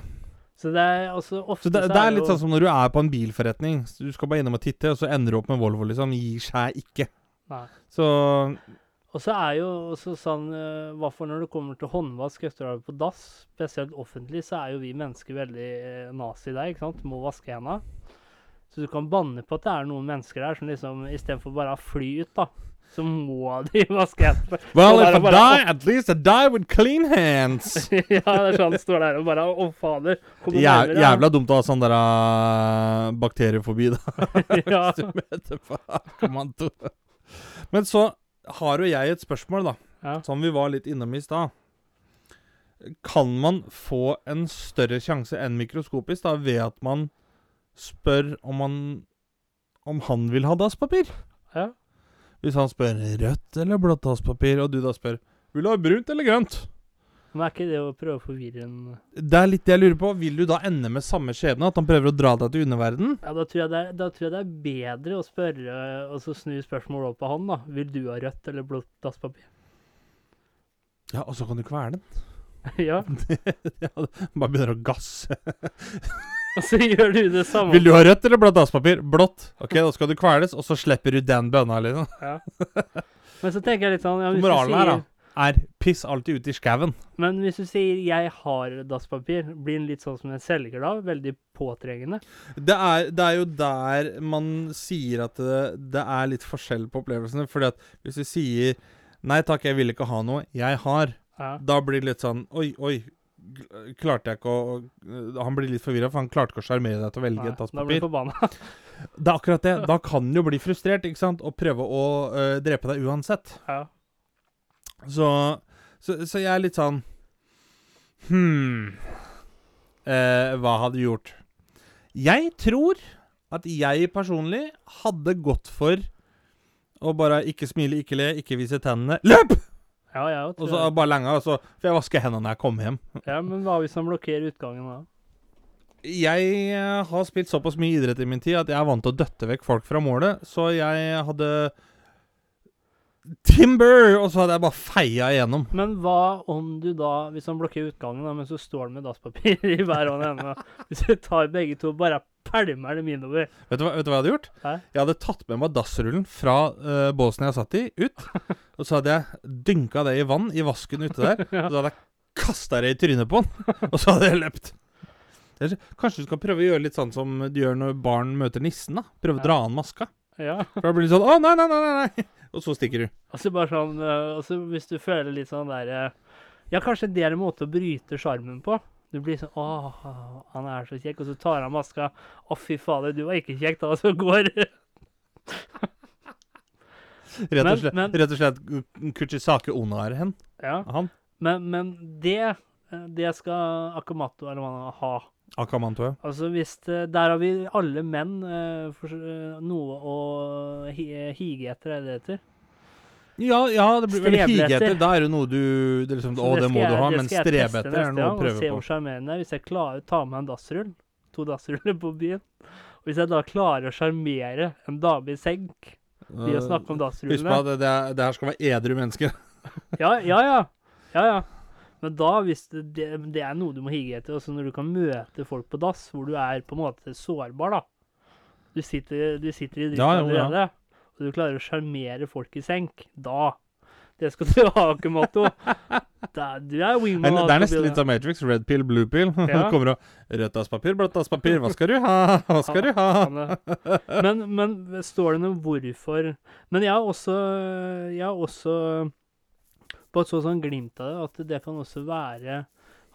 Speaker 3: Så det er altså ofte
Speaker 1: Så det, det er litt
Speaker 3: jo-
Speaker 1: sånn som når du er på en bilforretning. sånn- Så Du skal bare innom og titte, og så ender du opp med Volvo, liksom. Gir seg ikke.
Speaker 3: Nei.
Speaker 1: Så
Speaker 3: Og så er jo også sånn, eh, hvert fall når det kommer til håndvask etter å ha vært på dass, spesielt offentlig, så er jo vi mennesker veldig eh, nazi der, ikke sant? Må vaske hendene. Så du kan banne på at det er noen mennesker der som liksom, istedenfor bare å fly ut, da, så må (laughs) de vaske hendene. (laughs)
Speaker 1: Well,
Speaker 3: Så
Speaker 1: if
Speaker 3: der
Speaker 1: I
Speaker 3: er bare-
Speaker 1: die, at least I die with clean
Speaker 3: (laughs)
Speaker 1: hands.
Speaker 3: ja, det er sånn han står der og bare Å, fader. kommer
Speaker 1: Jæ-
Speaker 3: nærmere, da».
Speaker 1: jævla dumt å ha sånn der uh, bakteriefobi, da.
Speaker 3: (laughs) Ja.
Speaker 1: Som heter faen, kommando. Men så har jo jeg et spørsmål, da,
Speaker 3: Ja.
Speaker 1: som vi var litt innom i stad. Kan man få en større sjanse enn mikroskopisk da, ved at man spør om han, om han vil ha dasspapir?
Speaker 3: Ja.
Speaker 1: Hvis han spør rødt eller blått dasspapir, og du da spør vil du ha brunt eller grønt?
Speaker 3: Men er ikke det å prøve å forvirre en
Speaker 1: Det er litt det jeg lurer på. Vil du da ende med samme skjebne? At han prøver å dra deg til underverden?
Speaker 3: Ja, da tror, jeg det er, da tror jeg det er bedre å spørre eh, og så snu spørsmålet opp på han, da. Vil du ha rødt eller blått dasspapir?
Speaker 1: Ja, og så kan du ikke være den.
Speaker 3: (laughs) ja.
Speaker 1: Ja, bare begynner å gasse.
Speaker 3: (laughs) Og så gjør du det samme.
Speaker 1: Vil du ha rødt eller blått dasspapir? Blått. Ok, da skal du kveles, og så slipper du den bønna, liksom.
Speaker 3: Men så tenker jeg litt sånn ja, hvis du
Speaker 1: Moralen her,
Speaker 3: sier,
Speaker 1: da, er piss alltid ute i skauen.
Speaker 3: Men hvis du sier 'jeg har dasspapir', blir den litt sånn som en selger da? Veldig påtrengende?
Speaker 1: Det er, det er jo der man sier at det, det er litt forskjell på opplevelsene. Fordi at hvis du sier 'nei takk, jeg vil ikke ha noe, jeg har',
Speaker 3: Ja.
Speaker 1: da blir det litt sånn 'oi, oi'. gl- Klarte jeg ikke å øh, Han blir litt forvirra, for han klarte ikke å sjarmere deg til å velge
Speaker 3: Nei,
Speaker 1: et
Speaker 3: da blir
Speaker 1: dasspapir.
Speaker 3: du forbanna.
Speaker 1: Det er akkurat det. Da kan han jo bli frustrert ikke sant? og prøve å øh, drepe deg uansett.
Speaker 3: (laughs) Ja.
Speaker 1: Så, så, så jeg er litt sånn Hm eh, Hva hadde du gjort? Jeg tror at jeg personlig hadde gått for å bare ikke smile, ikke le, ikke vise tennene. Løp!
Speaker 3: Ja, jeg òg,
Speaker 1: Og
Speaker 3: tror
Speaker 1: så
Speaker 3: jeg.
Speaker 1: bare lenge, og så får jeg vaske hendene når jeg kommer hjem.
Speaker 3: Ja, men hva hvis han blokkerer utgangen da?
Speaker 1: Jeg eh, har spilt såpass mye idrett i min tid at jeg er vant til å døtte vekk folk fra målet, så jeg hadde Timber! Og så hadde jeg bare feia igjennom.
Speaker 3: Men hva om du da, hvis han blokkerer utgangen, da, men så står han med dasspapir (laughs) i hver hånd ennå Hvis du tar begge to og bare pælmer dem innover
Speaker 1: Vet du, hva, vet du hva jeg hadde gjort?
Speaker 3: Hæ?
Speaker 1: Jeg hadde tatt med meg dassrullen fra eh, båsen jeg satt i, ut. Og så hadde jeg dynka det i vann i vasken ute
Speaker 3: (laughs)
Speaker 1: der. Og så hadde jeg kasta det i trynet på han, (laughs) og så hadde jeg løpt. Eller så- Kanskje du skal prøve å gjøre litt sånn som du gjør når barn møter nissen. da Prøve
Speaker 3: Ja.
Speaker 1: å dra an maska.
Speaker 3: Ja.
Speaker 1: For da blir det sånn 'Å, nei, nei, nei, nei'. nei. Og så stikker du.
Speaker 3: Og så bare sånn eh, Og så hvis du føler litt sånn der eh, Ja, kanskje det er en måte å bryte sjarmen på. Du blir sånn Åh, han er så kjekk. Og så tar han maska. Å, fy fader, du var ikke kjekk da. (laughs) Og så går
Speaker 1: Rett og
Speaker 3: Men-
Speaker 1: slett,
Speaker 3: men-
Speaker 1: rett og slett K- Kuchisake Onar hen.
Speaker 3: Ja.
Speaker 1: Han.
Speaker 3: Men, men det eh, det skal Akamato eller hva han ha.
Speaker 1: Akamantoe.
Speaker 3: Altså hvis det, Der har vi alle menn eh, for, eh, noe å hi, hige etter, er det det heter?
Speaker 1: Ja, ja, det blir vel
Speaker 3: Strebe
Speaker 1: hige etter.
Speaker 3: etter.
Speaker 1: Da er det noe du det er liksom,
Speaker 3: Så
Speaker 1: Å, det
Speaker 3: skal
Speaker 1: må du
Speaker 3: jeg-
Speaker 1: ha.
Speaker 3: det
Speaker 1: Men
Speaker 3: skal jeg
Speaker 1: strebe
Speaker 3: teste
Speaker 1: etter er
Speaker 3: neste
Speaker 1: noe
Speaker 3: gang,
Speaker 1: å
Speaker 3: og
Speaker 1: prøve
Speaker 3: Se
Speaker 1: på.
Speaker 3: hvor sjarmerende det er hvis jeg klarer å ta med en dassrull. To dassruller på byen. Og hvis jeg da klarer å sjarmere en dame i senk ved å snakke om
Speaker 1: Eh, Husk på
Speaker 3: dassrullene
Speaker 1: at det, det, er- det her skal være edru mennesker.
Speaker 3: Ja, ja, ja. ja, ja. Men da, hvis det, det, det er noe du må hige etter, også når du kan møte folk på dass, hvor du er på en måte sårbar, da. Du sitter, du sitter i dritten
Speaker 1: Ja, jo, ja.
Speaker 3: allerede, og du klarer å sjarmere folk i senk. Da. Det skal du ha, Kumato.
Speaker 1: (laughs)
Speaker 3: Da- Du er
Speaker 1: Det
Speaker 3: wingman.
Speaker 1: er,
Speaker 3: altså,
Speaker 1: det er nesten
Speaker 3: Bjørn.
Speaker 1: litt av Matrix. Red pill, blue pill. (laughs)
Speaker 3: Ja.
Speaker 1: Kommer og Rødt dasspapir, blått dasspapir. Hva skal du ha? (laughs) Hva skal du ha?
Speaker 3: Han er- Men, men står det noe hvorfor Men jeg har også, jeg har også på et så sånn glimt av det at det kan også være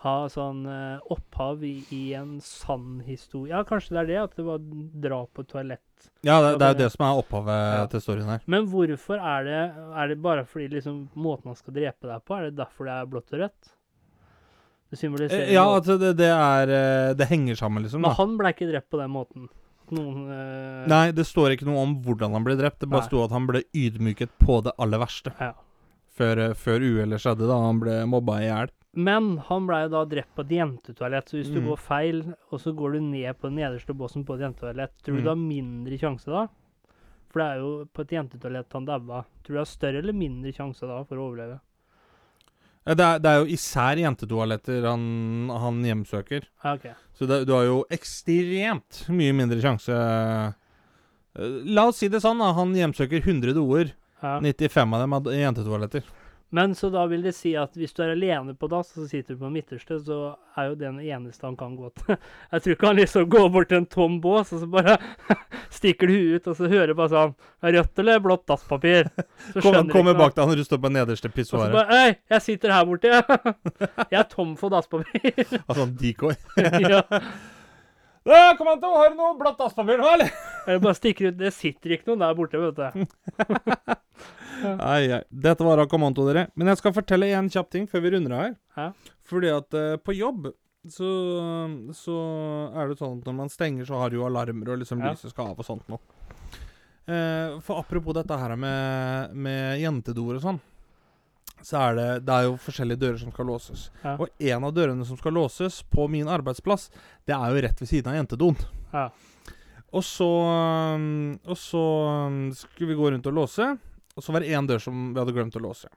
Speaker 3: ha sånn eh, opphav i, i en sann historie. Ja, kanskje det er det, at det var drap på toalett.
Speaker 1: Ja, det, det er jo det som er opphavet
Speaker 3: Ja.
Speaker 1: til storyen her.
Speaker 3: Men hvorfor er det Er det bare fordi liksom måten han skal drepe deg på, er det derfor det er blått og rødt? Det symboliserer
Speaker 1: Eh, Ja,
Speaker 3: noe.
Speaker 1: altså, det, det er eh, Det henger sammen, liksom.
Speaker 3: Men
Speaker 1: da.
Speaker 3: han ble ikke drept på den måten. At Noen eh,
Speaker 1: Nei, det står ikke noe om hvordan han ble drept. Det bare
Speaker 3: Nei.
Speaker 1: sto at han ble ydmyket på det aller verste.
Speaker 3: Ja.
Speaker 1: Før, eh, før uhellet skjedde, da han ble mobba i hjel.
Speaker 3: Men han blei da drept på et jentetoalett, så hvis du
Speaker 1: Mm.
Speaker 3: går feil, og så går du ned på den nederste båsen på et jentetoalett, tror du
Speaker 1: Mm.
Speaker 3: du har mindre sjanse da? For det er jo på et jentetoalett han daua. Tror du du har større eller mindre sjanse da for å overleve?
Speaker 1: Eh, Det, er- det er jo især jentetoaletter han, han hjemsøker.
Speaker 3: Ja, ok.
Speaker 1: Så det, du har jo ekstremt mye mindre sjanse Eh, La oss si det sånn, da. Han hjemsøker 100 doer.
Speaker 3: Ja.
Speaker 1: 95 av dem hadde jentetoaletter.
Speaker 3: Men så da vil det si at hvis du er alene på dass, og så sitter du på midterste, så er jo den eneste han kan gå til. (laughs) Jeg tror ikke han liksom går bort til en tom bås, og så bare (laughs) stikker du huet ut, og så hører bare sånn Rødt eller blått dasspapir? Så
Speaker 1: Kom,
Speaker 3: skjønner
Speaker 1: kommer
Speaker 3: ikke han.
Speaker 1: bak deg når du står på nederste
Speaker 3: Og så
Speaker 1: pissoaret.
Speaker 3: bare Øy, jeg sitter her borte, jeg. (laughs) Jeg er tom for (laughs) dasspapir.
Speaker 1: Altså sånn
Speaker 3: (laughs)
Speaker 1: decoy.
Speaker 3: ja.
Speaker 1: Kommando, har du noe blått dasspapir nå, eller?
Speaker 3: Jeg bare stikker ut. Det sitter ikke noen der borte, vet du.
Speaker 1: Ai, ai. Dette var Rakommando, dere. Men jeg skal fortelle en kjapp ting før vi runder av her.
Speaker 3: Ja.
Speaker 1: Fordi at eh, på jobb så, så er det sånn at når man stenger, så har du jo alarmer og liksom
Speaker 3: Ja.
Speaker 1: lyset skal av og sånt noe. Eh, for apropos dette her med, med jentedoer og sånn, så er det, det er jo forskjellige dører som skal låses.
Speaker 3: Ja.
Speaker 1: Og en av dørene som skal låses på min arbeidsplass, det er jo rett ved siden av jentedoen.
Speaker 3: Ja.
Speaker 1: Og så, um, og så um, skulle vi gå rundt og låse, og så var det én dør som vi hadde glemt å låse.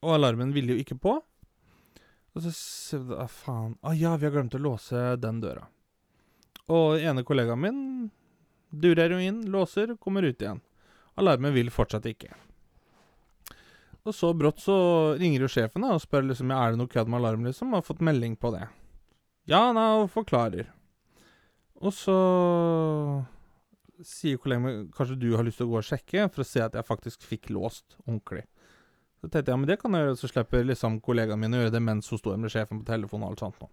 Speaker 1: Og alarmen ville jo ikke på. Og så ser vi da, ah, faen, ah, ja, vi har glemt å låse den døra. Og den ene kollegaen min durer jo inn, låser, kommer ut igjen. Alarmen vil fortsatt ikke. Og så brått så ringer jo sjefen da, og spør liksom, ja, er det noe kødd med alarmen, liksom, og har fått melding på det. Ja, nei, og forklarer. Og så sier kollegaen min kanskje du har lyst til å gå og sjekke for å se at jeg faktisk fikk låst ordentlig. Så tenkte jeg men det kan jeg gjøre, så slipper liksom kollegaen min å gjøre det mens hun står med sjefen på telefonen og alt sånt. Nå.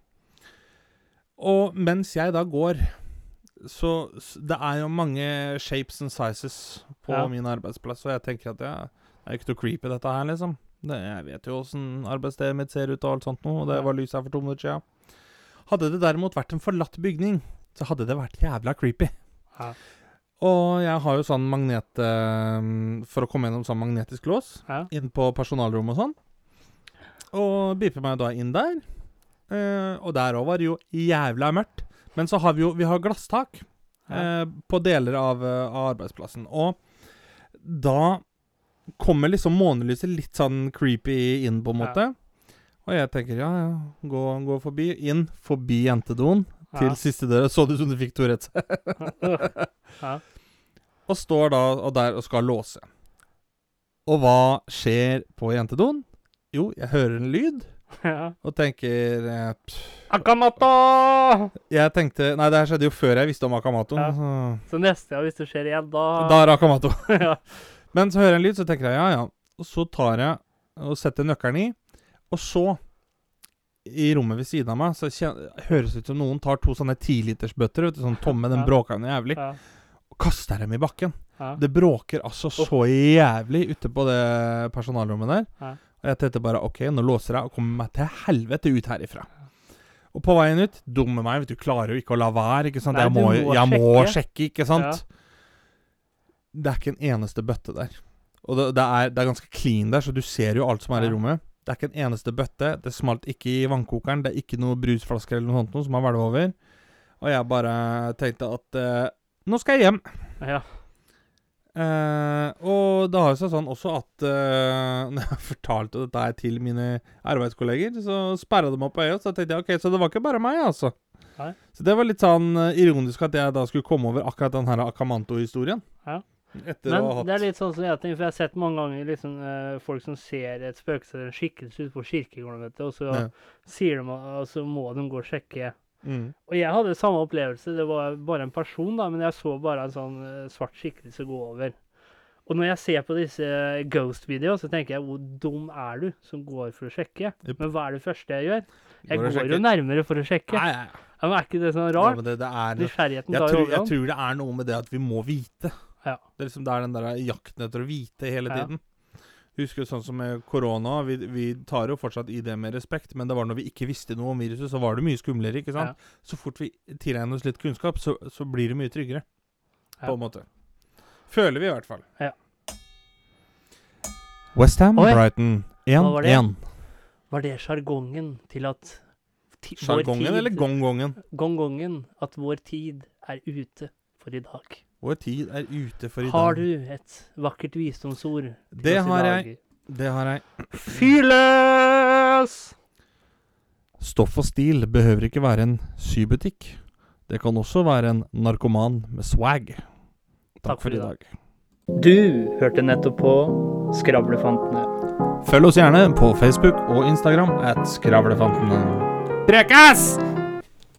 Speaker 1: Og mens jeg da går Så s- det er jo mange shapes and sizes på
Speaker 3: Ja.
Speaker 1: min arbeidsplass, og jeg tenker at jeg det er ikke noe creepy dette her, liksom. Det, jeg vet jo åssen arbeidsstedet mitt ser ut og alt sånt noe, og det var lys her for to minutter siden. Hadde det derimot vært en forlatt bygning, så hadde det vært jævla creepy.
Speaker 3: Ja.
Speaker 1: Og jeg har jo sånn magnet eh, For å komme gjennom sånn magnetisk lås
Speaker 3: Ja.
Speaker 1: inn på personalrommet og sånn. Og beeper meg da inn der. Eh, og der òg var det jo jævla mørkt. Men så har vi jo vi har glasstak eh, på deler av, eh, av arbeidsplassen. Og da kommer liksom månelyset litt sånn creepy inn, på en
Speaker 3: Ja.
Speaker 1: måte. Og jeg tenker ja, ja, gå, gå forbi. Inn forbi jentedoen til siste døra. Så det ut som du fikk Tourettes.
Speaker 3: ja. Ja.
Speaker 1: Og står da og der og skal låse. Og hva skjer på jentedoen? Jo, jeg hører en lyd
Speaker 3: (laughs) ja.
Speaker 1: og tenker eh, pff.
Speaker 3: Akamato!
Speaker 1: Jeg tenkte Nei, det her skjedde jo før jeg visste om Akamato.
Speaker 3: Ja. Ah.
Speaker 1: så-
Speaker 3: Så neste gang, hvis det skjer igjen, da
Speaker 1: Da er det Akamato.
Speaker 3: (laughs) ja.
Speaker 1: Men så hører jeg en lyd, så tenker jeg ja, ja. Og så tar jeg og setter nøkkelen i. Og så, i rommet ved siden av meg, så kjen- høres det ut som noen tar to sånne tilitersbøtter, vet du, sånn tomme, den
Speaker 3: Ja.
Speaker 1: bråker jo jævlig,
Speaker 3: Ja.
Speaker 1: og kaster dem i bakken.
Speaker 3: Ja.
Speaker 1: Det bråker altså så jævlig ute på det personalrommet der.
Speaker 3: Ja.
Speaker 1: Og jeg tenkte bare OK, nå låser jeg og kommer meg til helvete ut herifra. Og på veien ut Dumme meg, vet du, klarer jo ikke å la være. ikke sant?
Speaker 3: Nei,
Speaker 1: jeg
Speaker 3: du
Speaker 1: må,
Speaker 3: må
Speaker 1: jeg må
Speaker 3: sjekke.
Speaker 1: sjekke, ikke sant? Det er ikke en eneste bøtte der. Og det, det, er, det er ganske clean der, så du ser jo alt som er
Speaker 3: Ja.
Speaker 1: i rommet. Det er ikke en eneste bøtte. Det smalt ikke i vannkokeren. Det er ikke noe brusflasker eller noe sånt noe som har hvelvet over. Og jeg bare tenkte at eh, Nå skal jeg hjem.
Speaker 3: Ja.
Speaker 1: Eh, og det har jo seg sånn også at eh, (laughs) Når jeg fortalte dette her til mine arbeidskolleger, så sperra de meg på øyet. og Så tenkte jeg ok, så det var ikke bare meg, altså.
Speaker 3: Nei.
Speaker 1: Så det var litt sånn eh, ironisk at jeg da skulle komme over akkurat den her Akamanto-historien.
Speaker 3: Ja.
Speaker 1: Etter å ha
Speaker 3: Men
Speaker 1: hatt
Speaker 3: det er litt sånn som jeg tenker, for jeg har sett mange ganger liksom, eh, folk som ser et spøkelse eller en skikkelse ute på kirkegården, vet du, og så
Speaker 1: Ja.
Speaker 3: sier de og så må de gå og sjekke.
Speaker 1: mm.
Speaker 3: Og jeg hadde samme opplevelse, det var bare en person, da, men jeg så bare en sånn eh, svart skikkelse gå over. Og når jeg ser på disse eh, ghost-videoene, så tenker jeg hvor dum er du som går for å sjekke?
Speaker 1: Jupp.
Speaker 3: Men hva er det første jeg gjør? Jeg
Speaker 1: Går
Speaker 3: går,
Speaker 1: og sjekker.
Speaker 3: jo nærmere for å sjekke.
Speaker 1: Nei, nei, nei.
Speaker 3: Ja, Men er ikke det sånn
Speaker 1: Ja,
Speaker 3: rart?
Speaker 1: men det, det er
Speaker 3: Nysgjerrigheten
Speaker 1: jeg
Speaker 3: tar jo
Speaker 1: tror, jeg
Speaker 3: overhånd.
Speaker 1: tror det er noe med det at vi må vite.
Speaker 3: Ja.
Speaker 1: Det er liksom det er den der jakten etter å vite hele
Speaker 3: Ja.
Speaker 1: tiden. Husker jo sånn som med korona, vi, vi tar jo fortsatt i det med respekt, men det var når vi ikke visste noe om viruset, så var det mye skumlere, ikke sant? Så fort vi tilegner oss litt kunnskap, så, så blir det mye tryggere,
Speaker 3: Ja.
Speaker 1: på en måte. Føler vi i hvert fall.
Speaker 3: Ja.
Speaker 1: Westham,
Speaker 3: Oi.
Speaker 1: Brighton
Speaker 3: Hva var det?
Speaker 1: 1-1.
Speaker 3: Var det sjargongen til at ti- vår tid-
Speaker 1: Sjargongen eller gongongen?
Speaker 3: gongongen at vår tid er ute for i dag.
Speaker 1: Vår tid er ute for i
Speaker 3: Har
Speaker 1: dag.
Speaker 3: du et vakkert visdomsord? til
Speaker 1: Det
Speaker 3: oss i
Speaker 1: har
Speaker 3: dag?
Speaker 1: Det har jeg.
Speaker 3: Fyrløs!
Speaker 1: Stoff og stil behøver ikke være en sybutikk. Det kan også være en narkoman med swag. Takk, for i dag.
Speaker 3: Du hørte nettopp på Skravlefantene.
Speaker 1: Følg oss gjerne på Facebook og Instagram at Skravlefantene.
Speaker 2: Prekas!